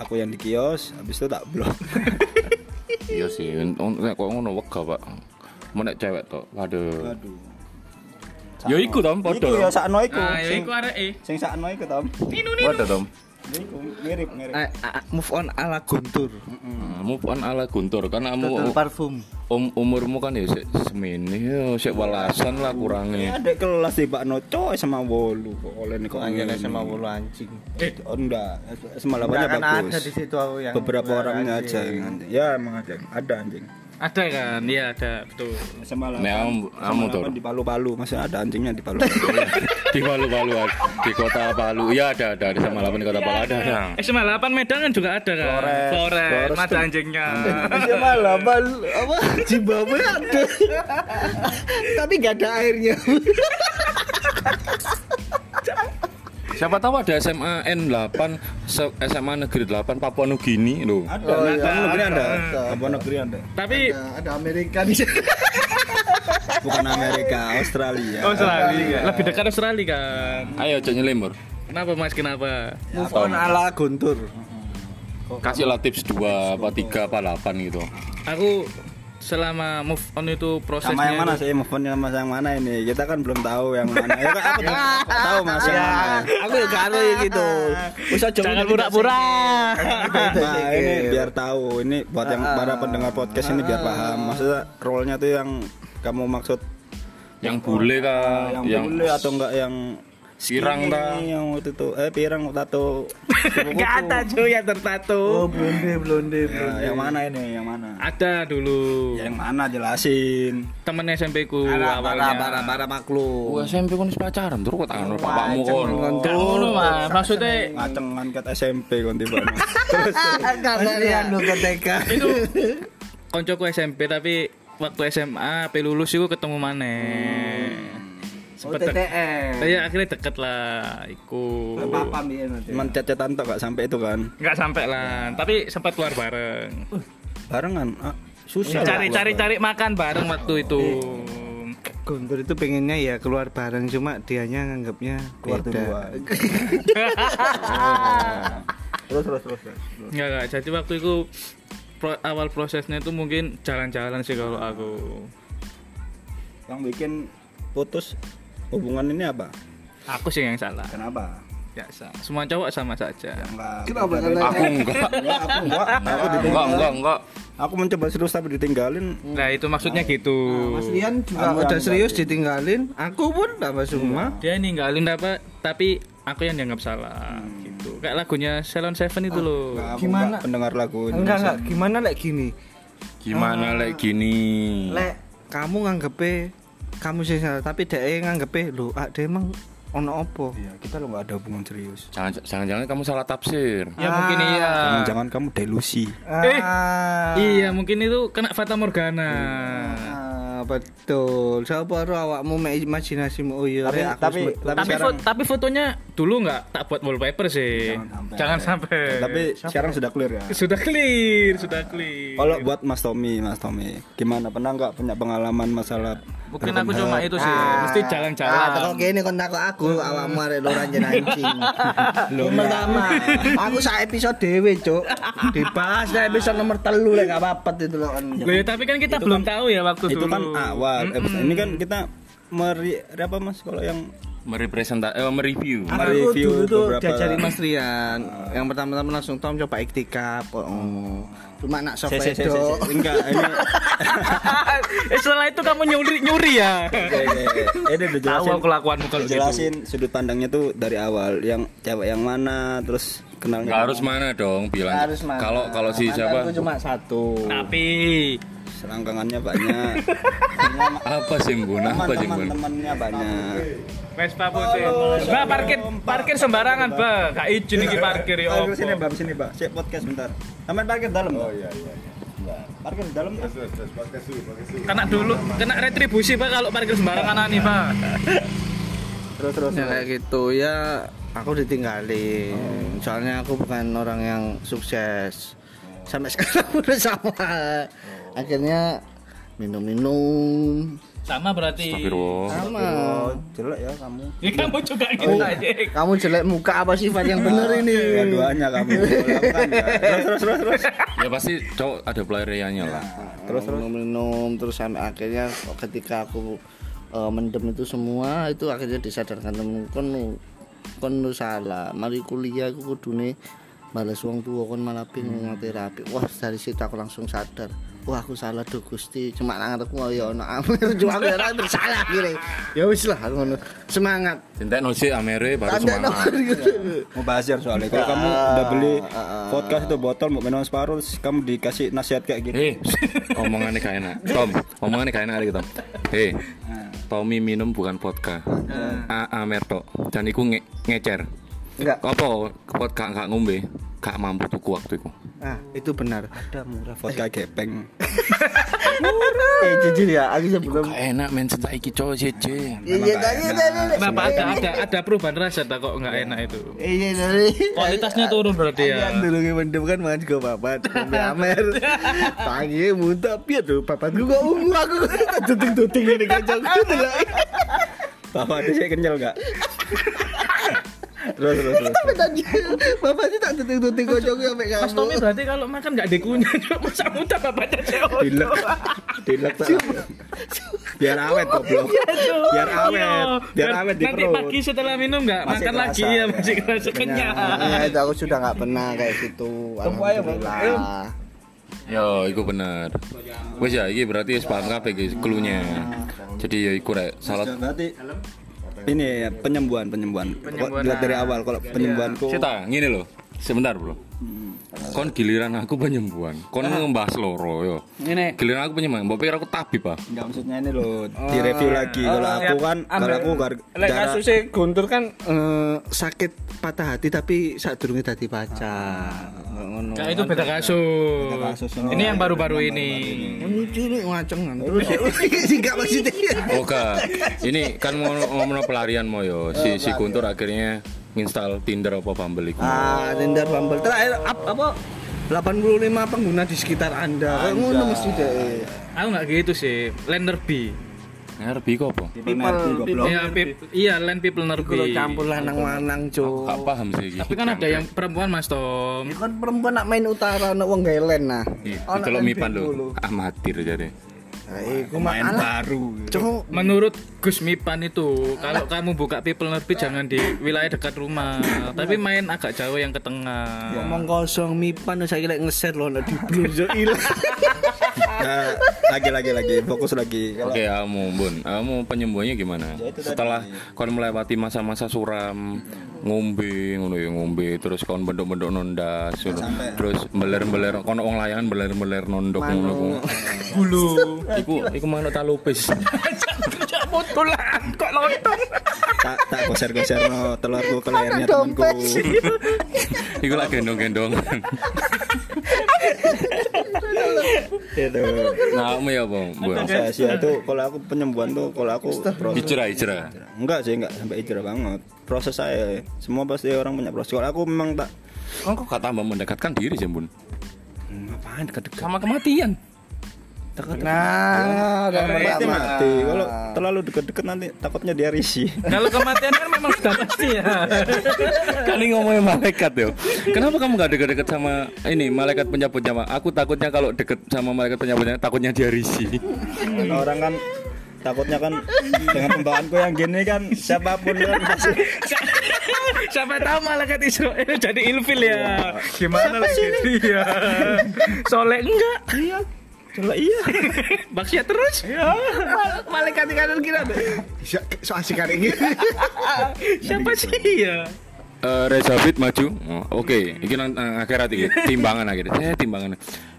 S3: aku yang di kios, habis itu tak blok.
S1: Iya sih, un- nek kok ngono wega, Pak. Mun nek cewek tok, waduh.
S3: Aduh.
S1: Ya iku Tom,
S3: Iku
S1: podo.
S3: ya sakno iku.
S5: Nah, ya
S3: Sing
S5: iku arek eh.
S3: sing sakno iku, Tom.
S1: Podo Tom.
S3: Iku mirip mirip.
S7: Eh, ah, move on ala Guntur.
S3: Oh. Hmm.
S1: Nah, move on ala Guntur karena kamu
S7: Guntur parfum.
S1: um, umurmu kan ya sik semene ya sik welasan lah
S3: Ya
S1: kurangnya.
S3: ada kelas di Pak Noco SMA Wolu kok oleh nih kok
S7: Panggil
S3: ini.
S7: SMA bulu anjing.
S3: Oh enggak, SMA 8 nya
S7: Kan
S3: bagus.
S7: ada di situ aku yang
S3: Beberapa orangnya aja yang anjing. Ya emang ada, ada anjing.
S5: Ada kan? Iya, ada. Betul.
S3: SMA 8.
S1: Nah, kamu- kamu tuh.
S3: Iya. di Palu-Palu masih ada anjingnya di Palu-Palu.
S1: Di Palu-Palu di kota Palu. Iya ada ada di sama lapan kota Palu ada.
S3: Iya.
S1: ada.
S5: SMA 8 Medan kan juga ada kan?
S3: Flores.
S5: Flores,
S3: Flores
S5: ada
S3: tuh. Nah.
S5: anjingnya.
S7: SMA 8 apa Zimbabwe ada. Tapi gak ada airnya.
S1: Siapa tahu ada SMA N8, se- SMA Negeri 8 Papua Nugini loh.
S3: ada, oh, iya. negeri ada. Apa negeri ada?
S5: Tapi
S7: Ada Amerika di sana.
S3: Bukan Amerika, Australia.
S5: Australia. Lebih dekat Australia kan.
S1: Ayo cek nyelimur.
S5: Kenapa Mas? Kenapa?
S7: Move on ala Guntur.
S1: Kasih lah tips 2 apa 3 apa 8 gitu.
S5: Aku selama move on itu prosesnya
S3: Sama yang mana sih? Move on sama yang mana ini? Kita kan belum tahu yang mana. Ya kan aku tuh tahu Mas yang mana.
S7: Aku ya gak ada yang gitu. Usah jauh
S5: Jangan pura-pura.
S3: Nah ini biar tahu ini buat yang para pendengar podcast ini biar paham maksudnya role-nya tuh yang kamu maksud
S1: Yang bule kah?
S3: yang,
S1: Yang,
S3: bule atau enggak yang
S1: Pirang
S3: ini,
S1: ta?
S3: yang waktu itu eh pirang tato
S5: Gak ada cuy yang tertato.
S7: Oh, blonde blonde
S3: Ya, yang mana ini yang mana
S5: Ada dulu
S3: Ya, yang mana jelasin
S5: temen SMP ku
S7: Bara
S5: awalnya.
S7: bara bara maklum.
S1: Wah, SMP kan wis pacaran terus kok tangan bapakmu kon.
S5: Gak ngono mas, maksudnya
S3: ngacengan kat SMP kon tiba
S7: Mas Rian lu ke TK.
S5: itu koncoku SMP tapi waktu SMA pe lulus iku ketemu maneh. Hmm. Sempet
S7: Eh,
S5: dek-
S7: TTM.
S5: Iya akhirnya deket lah iku.
S7: Papa biar nanti.
S3: cuman cecetan tok gak sampai itu kan
S5: Enggak sampai lah, tapi sempat keluar bareng.
S3: barengan ah, susah
S5: Cari-cari cari makan Uh, bareng Iya. waktu itu.
S7: Guntur itu pengennya ya keluar bareng cuma dianya nganggapnya
S3: keluar
S7: beda.
S3: duluan terus terus terus terus.
S5: Enggak enggak, jadi waktu itu pro- awal prosesnya itu mungkin jalan-jalan sih kalau aku.
S3: yang bikin putus hubungan ini apa
S5: Aku sih yang salah.
S3: kenapa
S5: biasa semua cowok sama saja
S7: Kenapa kalian?
S1: Aku enggak. Enggak,
S3: aku enggak aku ditinggalin
S1: enggak, enggak.
S3: aku mencoba serius tapi ditinggalin
S5: nah itu maksudnya gitu
S7: Mas Rian juga Iya.
S3: Aku
S7: udah
S3: kan
S7: serius ditinggalin. Aku pun tambah semua.
S5: dia ninggalin apa tapi aku yang dianggap salah gitu kayak lagunya Salon Seven itu loh
S3: Enggak, aku
S7: Gimana?
S3: enggak pendengar lagu
S7: Enggak
S3: Indonesia.
S7: enggak. Gimana lek gini?
S1: Gimana lek gini?
S7: Lek kamu nganggepe kamu sih salah, tapi dhek nganggepe lho, ah dhek emang ono opo?
S3: Iya, kita lo nggak ada hubungan serius
S1: Jangan jangan-jangan kamu salah tafsir.
S5: ya mungkin iya
S3: jangan kamu delusi
S5: Eh,
S7: Ah,
S5: iya mungkin itu kena Fata Morgana
S7: ah, betul. Siapa ro awakmu mek imajinasimu oh iya
S3: tapi
S7: rek, aku
S3: tapi
S7: sebetulnya.
S3: tapi
S5: tapi
S3: sekarang
S5: fo- tapi fotonya dulu nggak tak buat wallpaper sih jangan sampai,
S3: tapi sekarang sudah clear ya
S5: sudah clear sudah clear
S3: kalau buat Mas Tommy Mas Tommy gimana pernah nggak punya pengalaman masalah
S5: mungkin aku cuma itu sih mesti jalan-jalan Hmm.
S7: Ah, terus kene kon takok aku awakmu arek loro anjen anjing. Yang pertama, aku sak episode dhewe, Cuk. Dibahas sak episode nomor 3 lek gak apa-apa itu lho.
S5: Loh, ya, tapi kan kita belum tahu ya waktu
S3: itu
S5: dulu
S3: kan awal episode ini kan kita meri apa Mas kalau yang
S1: Merepresenta eh mereview.
S7: Aku
S3: Mereview
S7: dulu tuh
S3: beberapa-
S7: diajari Mas Rian. Yang pertama-tama langsung Tom coba iktikaf. Oh. Cuma nak sok
S3: Se- se- se- se-
S7: wedok.
S3: se- enggak ini
S5: eh setelah itu kamu nyuri nyuri ya
S3: oke, oke, oke. ini udah
S5: tahu
S3: jelasin
S5: aku kelakuanmu kalau gitu
S3: jelasin sudut pandangnya tuh dari awal yang cewek yang mana terus kenalnya
S1: Enggak harus mana dong bilang.
S7: Harus mana?
S1: Kalau kalau si siapa?
S7: Mantanku cuma satu.
S5: tapi
S3: selangkangannya Nah, banyak
S1: Apa sih Bun? Apa sih Bun?
S3: teman-temannya banyak
S5: Vespa putih Mbak parkir parkir sembarangan Mbak gak izin iki parkir ya
S3: Parkir
S5: opo
S3: sini bang sini bang cek podcast bentar sampai parkir dalam oh iya iya parkir di dalam Bang.
S5: kena dulu kena retribusi Pak kalau parkir sembarangan nih Pak
S3: terus terus
S5: Hmm.
S7: Ya kayak gitu ya aku ditinggalin.
S5: Hmm.
S7: Soalnya aku bukan orang yang sukses. Sampai sekarang udah sama.
S5: Oh.
S7: Akhirnya minum-minum
S5: sama berarti
S1: Astagfirullah.
S7: sama.
S3: oh jelek ya kamu
S5: ya kamu juga
S3: Oh.
S5: gitu anjing.
S7: Eh, Kamu jelek muka apa sifat yang bener ini?
S3: dua-duanya Ya, kamu lakukan ya. terus terus terus terus
S1: Ya pasti cowok ada pelariannya lah.
S7: terus terus minum terus sampai akhirnya ketika aku eh, mendem itu semua itu akhirnya disadarkan temen kon kon lu salah mari kuliah aku kudune balas uang tua kon malah bingung terapi wah dari situ aku langsung sadar wah aku salah tuh gusti cuma nang aku ya ono amir cuma aku ya ora bersalah kira ya wis lah aku ngono. semangat
S1: Cinta no si Amere baru
S7: Tanda
S1: semangat.
S7: nomor gitu.
S3: mau bahas ya soalnya kalau kamu
S7: Ah,
S3: udah beli podcast itu botol mau minum separuh terus kamu dikasih nasihat kayak gitu
S1: Eh, omongannya gak enak. Tom, omongannya gak enak hari Tom. Hei, Tommy minum bukan vodka. A Amer tok. Dan iku nge ngecer.
S7: Enggak.
S1: Apa vodka gak ngombe? Gak mampu tuku waktu iku.
S7: ah itu benar
S3: vodka gepeng
S7: eh jujur ya aku sebelum
S1: Gak enak men cinta iki cowok siji.
S7: iya tadi tadi
S5: Kenapa ada ada ada perubahan rasa tak kok nggak enak itu
S3: Eh,
S7: iya tadi
S5: kualitasnya turun berarti ya
S7: Kan dulu yang mendem kan makan juga papat Ngombe amer Tangi muntah Piat tuh papat gue kok ungu aku Tuting-tuting ini kacau gitu lah
S3: bapak ada saya kenyal nggak terus terus terus
S7: Tapi tadi Bapak sih tak tuting-tuting kocok ya, sampai
S5: Mas
S7: kamu
S5: Tommy berarti kalau makan nggak dikunyah masa muda bapaknya CO2
S3: dilek dilek tak biar awet goblok biar awet biar awet di
S5: Iya. nanti
S3: perut
S5: pagi setelah minum nggak
S3: Masih
S5: makan
S3: kerasa, Iya.
S5: lagi ya
S3: ya.
S5: masih kerasa kenyang
S7: Nah, itu aku sudah nggak pernah kayak gitu Alhamdulillah
S1: Yo, iku bener. Wis ya, iki berarti wis paham kabeh guys, klunya. Jadi ya iku rek salah
S3: berarti ini ya, penyembuhan penyembuhan dilihat dari awal kalau penyembuhanku
S1: Cita, ngene lho. Sebentar, Bro. Kon giliran aku penyembuhan. Kon ngebahas loro yo.
S5: ini
S1: Giliran aku penyembuhan. Mbok pikir aku tabib, Pak.
S3: Enggak maksudnya ini loh di review lagi kalau aku kan kalau aku gar- jarak
S7: Guntur kan sakit patah hati tapi saat durungnya tadi pacar ngono
S5: Nah, itu beda kasus. ini yang baru-baru ini.
S7: lucu nih ngaceng kan terus sih nggak maksudnya
S1: Oke. Ini kan mau ngomong pelarian mau yo. Si si Guntur akhirnya install Tinder apa Bumble iku.
S7: Ah, Tinder Bumble. Terakhir ap- apa 85 pengguna di sekitar Anda. Kayak ngono mesti deh.
S5: Aku nggak gitu sih. Lander B.
S1: Ngerti iku apa?
S5: Iya, pip- iya, land people nerb.
S7: Kalau campur lanang-lanang, Cuk.
S1: Gak paham sih iki.
S5: Tapi kan ada yang perempuan Mas Tom.
S7: Ya kan perempuan nak main utara nak wong gelen nah.
S1: Iya,
S7: Ono
S1: Diceluk
S7: main
S1: mipan
S7: bengkulu.
S1: lho. Amatir jadi.
S7: Nah, Iku
S3: Iya. Main
S7: malah
S3: baru.
S7: cuk
S5: Menurut Gus Mipan itu, kalau kamu buka people nerby jangan di wilayah dekat rumah, tapi main agak jauh yang ke tengah.
S4: Ngomong kosong mipan saya kira ngeset loh nek diblu yo ilang.
S3: Nah, lagi lagi lagi fokus lagi. Kalau
S1: Oke, kamu Bun, kamu penyembuhannya gimana? Setelah kon melewati masa-masa suram, ngombe ngono ya ngombe, terus kon bendok-bendok nondas, ngono. terus beler-beler kon wong layangan beler-beler nondok ngono ku. Gulu. Iku iku manuk talupis.
S3: tak tak goser goser no telurku ke lehernya temanku.
S1: iku lak gendong-gendongan.
S3: Itu.
S1: Nah, kamu ya, Bang. Bun.
S3: Rahasia Gitu. tuh kalau aku penyembuhan tuh kalau aku proses
S1: Hijrah, hijrah.
S3: enggak sih enggak sampai hijrah banget proses saya semua pasti orang punya proses kalau aku memang tak
S1: Kon kok gak tambah mendekatkan diri sih, Bun?
S3: ngapain dekat-dekat
S5: Sama kematian.
S7: nah dan
S3: mati mati kalau terlalu dekat-dekat nanti takutnya dia risih
S5: Kalau kematian kan memang sudah pasti ya.
S1: Kali ngomongin malaikat yo. Kenapa kamu gak deket-deket sama ini malaikat penyabut nyawa? Aku takutnya kalau deket sama malaikat penyabut nyawa takutnya dia risih.
S3: Karena orang kan takutnya kan dengan pembawaanku yang gini kan siapapun kan pasti
S5: Siapa tahu malaikat Israel jadi ilfil ya. Gimana lagi dia? Soleh enggak? Iya. Soleh iya. Baksia terus? Iya. Malaikat di kanan kira
S7: bisa so asik kali ini
S5: Siapa sih ya?
S1: Eh Reza Fit maju. Oh, Oke, iki nang nang akhirat iki timbangan akhirnya. Eh timbangan.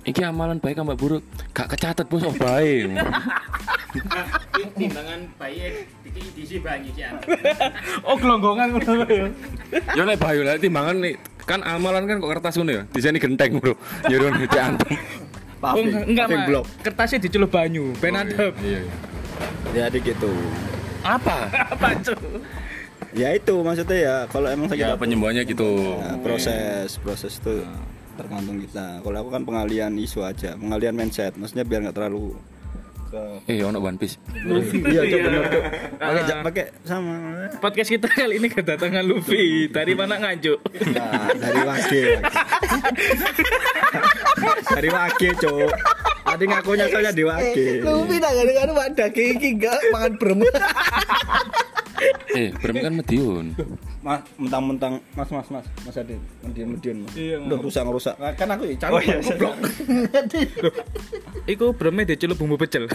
S1: Iki amalan baik sama buruk gak kecatet bos oh baik.
S8: timbangan bayi dikit diisi banyak sih
S5: Oh gelonggongan ngono ya.
S1: Yo lek bayu lek timbangan nih kan amalan kan kok kertas ngono ya. Di sini genteng bro. Yo ron diantum.
S5: Oh,
S3: paving
S5: enggak,
S3: paving
S5: Mak.
S3: blok
S5: Kertasnya dicelup banyu, ben adem.
S1: Iya. iya.
S3: jadi gitu
S1: Apa?
S5: Apa cuy?
S3: ya itu maksudnya ya kalau emang
S1: Ya
S3: sakit hati,
S1: penyembuhannya gitu.
S3: ya, proses proses itu tergantung kita kalau aku kan pengalian isu aja pengalian mindset maksudnya biar nggak terlalu ke
S1: Eh ono One Piece.
S3: iya itu bener tuh pakai ja- pakai sama
S5: Podcast kita kali ini kedatangan Luffy. Dari mana nganjuk?
S3: nah, dari wakil dari wakil cok tadi ngakunya soalnya di wakil
S4: Lupi tak kadang-kadang mak daging iki enggak mangan beremut.
S1: Eh, berem kan Medion.
S3: Mas, mentang-mentang Mas, mas, mas, mas Adit, mendian, mendian, Iya, mas. Udah rusak, ngerusak. Kan aku ya, canggung, goblok.
S5: Iku breme dicelup bumbu pecel.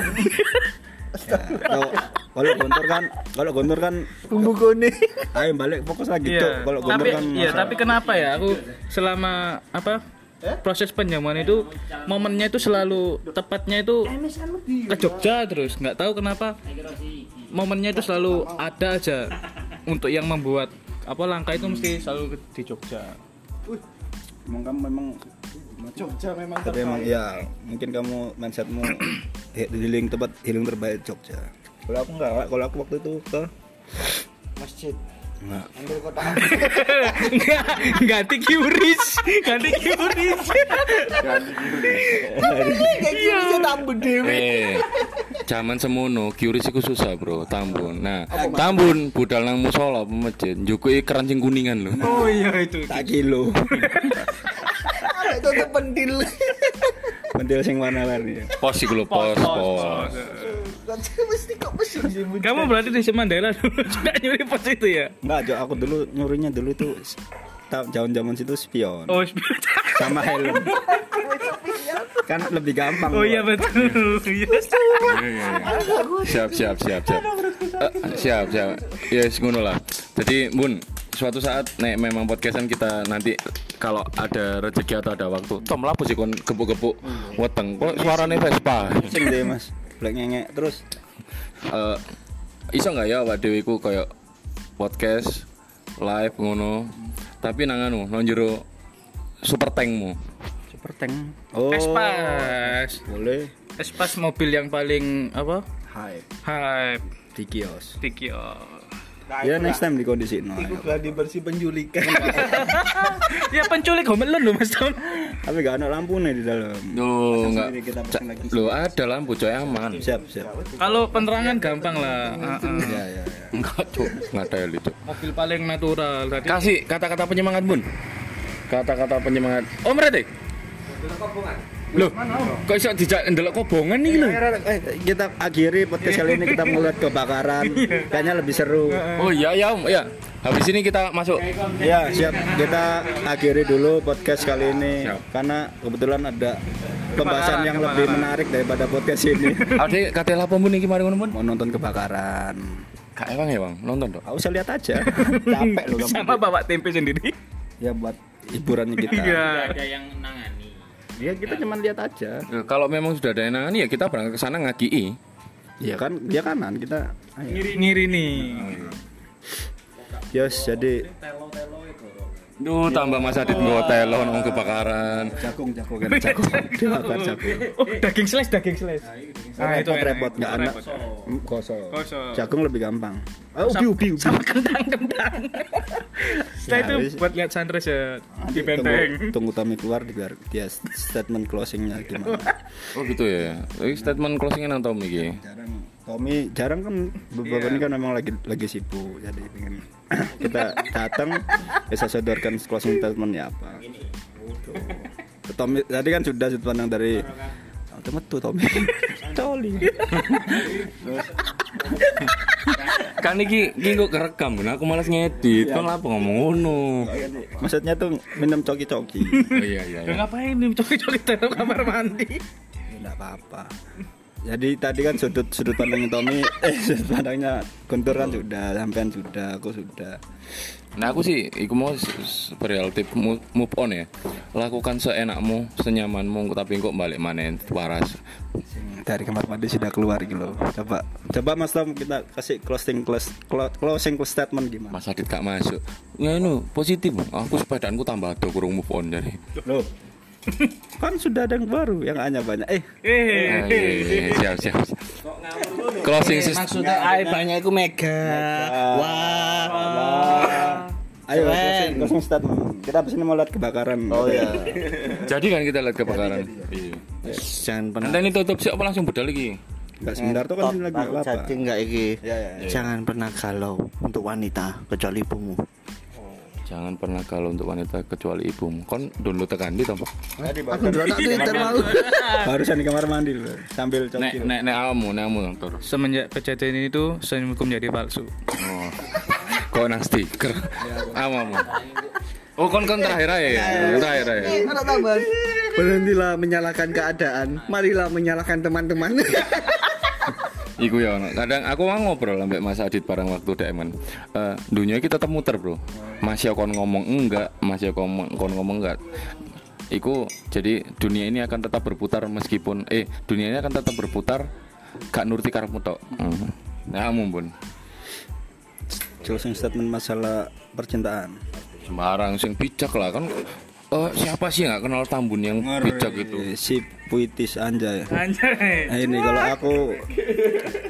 S3: Kalau- Kalau gontor kan, kalau gontor kan,
S4: Bumbu kone.
S3: ayo balik fokus lagi
S5: Iya.
S3: tuh. Kalau gontor
S5: tapi
S3: kan,
S5: iya,
S3: masa-
S5: tapi kenapa ya aku selama apa proses penjamuan itu momennya itu selalu tepatnya itu ke Jogja terus nggak tahu kenapa momennya itu selalu ada aja untuk yang membuat apa langkah itu mesti selalu di Jogja
S3: Emang kamu memang Jogja memang tapi emang ya mungkin kamu mindsetmu he- healing tempat healing terbaik Jogja kalau aku enggak kalau aku waktu itu ke
S7: masjid
S3: enggak
S7: ambil kota
S5: nggak ganti kiuris ganti kiuris
S4: Iki bisa tambah dhewe.
S1: Eh, zaman semono kiuris iku susah, Bro. Tambun. Nah, Tambun budal nang musola apa masjid, njukuki kerancing kuningan lho.
S5: oh iya itu
S3: tak kilo
S4: Itu tuh pentil.
S3: pentil sing mana lari
S1: Pos iku lho, pos, pos.
S4: Kan mesti kok mesti jemput.
S5: kamu berarti di Semandela dulu juga nyuri pos itu ya
S3: enggak Jo aku dulu nyurinya dulu itu jauh zaman situ spion
S5: oh
S3: sama helm kan lebih gampang
S5: oh iya
S3: Bro.
S5: betul Iya.
S1: Siap, siap, siap, siap. Eh, siap, siap. Ya yes, ngono lah. Jadi, Bun, suatu saat nek memang podcastan kita nanti kalau ada rezeki atau ada waktu, tom lapo sih kon gebuk-gebuk weteng. Kok suarane Vespa?
S3: Pusing deh mas black nyengek terus
S1: Eh, iso nggak ya awak dhewe iku kayak podcast live ngono. Tapi nang anu, nang jero super tankmu.
S3: super tank oh
S5: Espas
S3: boleh
S5: Espas mobil yang paling apa
S3: hype
S5: hype
S3: di kios
S5: di kios
S4: Nah,
S3: ya next time di kondisi no ayo.
S4: Gladi bersih penculikan.
S5: ya penculik homelon loh mas Tom
S3: tapi gak ada lampu nih di dalam
S1: Loh, enggak.
S3: Sendiri kita pasang lagi.
S1: Loh, ada lampu coy aman.
S3: siap siap
S5: kalau penerangan gampang lah Ah, ah.
S3: ya ya ya.
S1: Enggak, Cuk. Enggak ada itu.
S5: mobil paling natural tadi
S1: Oh, Kasih kata-kata penyemangat, Bun. Kata-kata penyemangat. Om Rete.
S5: Loh, kok iso dijak ndelok kobongan iki lho?
S3: Eh, kita akhiri podcast kali ini kita melihat kebakaran kayaknya lebih seru
S5: Oh iya ya, Om, ya. Habis ini kita masuk.
S3: ya siap kita akhiri dulu podcast kali ini
S1: Siap.
S3: karena kebetulan ada pembahasan yang lebih menarik daripada podcast ini
S5: Ade kate lapo mun iki mari ngono mun?
S3: mau nonton kebakaran
S5: Kak Ewang ya, Bang. Nonton dong.
S3: aku usah lihat aja capek loh kamu
S5: Sama bawa tempe sendiri.
S3: ya buat hiburannya kita
S5: Iya.
S8: Ada yang nangani.
S3: ya kita cuma lihat aja
S1: Kalau memang sudah ada enangan ya kita berangkat ke sana ngakii.
S3: ya kan dia kanan kita ayo.
S5: Ngiri nih.
S3: Yos, jadi
S1: Duh, tambah Mas Adit nggo telo nang kebakaran.
S3: jagung jagung kan jagung dibakar jagung
S5: Oh, daging slice, daging slice. Ah,
S3: Nah, repot repot nggak enak
S5: Oh.
S3: Mm, kosong jagung lebih gampang oh, ubi ubi ubi
S5: Sama kentang-kentang. Setelah
S3: Ya,
S5: itu
S3: habis-
S5: buat lihat sunrise ya di
S3: Nanti
S5: benteng.
S3: tunggu, tunggu Tommy keluar biar dia statement closingnya gimana
S5: Iya.
S1: Oh gitu ya. Ini statement closingnya nang Tom iki.
S3: jarang Tommy jarang kan beberapa
S5: Iya.
S3: ini kan memang lagi lagi sibuk jadi pengen kita datang bisa sodorkan closing statementnya apa Gitu. Tommy tadi kan sudah sudut pandang dari Oh, temen tuh Tommy Coli
S1: Kan iki iki kok kerekam, nah aku malas ngedit. Kon lapo ngomong ngono.
S3: maksudnya tuh minum coki-coki
S1: Oh, Iya iya
S5: Ya
S1: iya.
S5: ngapain nih coki-coki dalam kamar mandi?
S3: tidak apa-apa jadi tadi kan sudut sudut pandangnya Tommy eh sudut pandangnya Guntur kan sudah sampean sudah aku sudah
S1: Nah aku sih, iku mau s- s- perihal tip mu- move on ya. Lakukan seenakmu, senyamanmu, tapi kok balik manen waras.
S3: dari kamar mandi sudah keluar gitu loh. Coba coba Mas Tom kita kasih closing close, clo- closing statement gimana?
S1: Mas Adit gak masuk. Ya no, positif. Aku sepedanku tambah do kurung move on dari.
S3: Loh. kan sudah ada yang baru yang hanya banyak. Eh,
S1: Ah, iya, iya, iya. siap siap. siap. Closing sis.
S9: Maksudnya ae banyak iku mega. Wah.
S3: ayo closing, closing statement. Kita habis ini mau lihat kebakaran. Oh iya.
S1: Jadi kan kita lihat kebakaran. Iya.
S7: jangan pernah
S1: Nanti ini tutup sih, apa langsung budal lagi?
S3: Enggak sebentar tuh kan
S7: Tot,
S3: lagi
S7: aku
S3: apa?
S7: jadi nggak iki
S3: Ya, ya,
S7: jangan pernah galau untuk wanita kecuali ibumu
S1: Jangan pernah galau untuk wanita kecuali ibumu. Kon dulu tekan di tampak.
S7: aku dulu tak twitter mau
S3: Barusan di kamar mandi loh sambil
S1: Nek
S3: cokil.
S1: nek nek amu, nek amu terus.
S5: Semenjak kejadian itu, senyumku menjadi palsu.
S1: Oh. Kok nang stiker? Amu amu. Oh kon kon terakhir aja ya, terakhir aja.
S9: Berhentilah menyalahkan keadaan. Marilah menyalahkan teman-teman.
S1: Iku ya ono. Kadang aku mau ngobrol ambek Mas Adit barang waktu DM kan. Eh, dunia kita tetap muter, Bro. Masih kon ngomong enggak, masih kon ngomong, kon ngomong enggak. Iku jadi dunia ini akan tetap berputar meskipun eh dunia ini akan tetap berputar gak nuruti karepmu tok. Hmm. Ya mumpun.
S3: Closing statement masalah percintaan.
S1: Sembarang sing bijak lah kan. Eh, siapa sih yang gak kenal Tambun yang bijak itu?
S3: Eh, Si puitis anjay.
S5: Anjay.
S3: Nah, ini kalau aku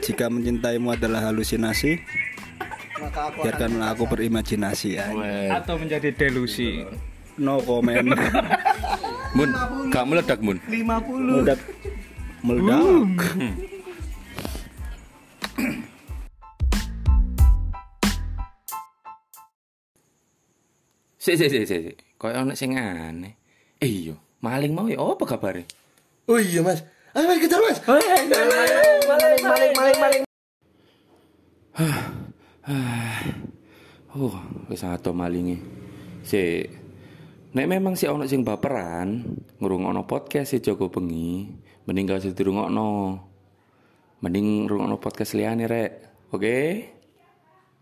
S3: jika mencintaimu adalah halusinasi, biarkanlah aku berimajinasi ya.
S1: Weh.
S5: Atau menjadi delusi.
S3: No comment.
S1: Bun, gak meledak, Bun.
S3: Meledak. Meledak.
S1: Sik sik sik sik. sik. Kayak ono sing aneh. Eh iya, maling mau ya apa kabare?
S2: Oh iya mas, ayo mas kejar mas.
S1: Oh, wis ato malinge. Sik. Nek memang si ono sing baperan ngrungokno podcast si Joko Bengi, mending gak usah dirungokno. Mending rungokno podcast liyane rek. Oke?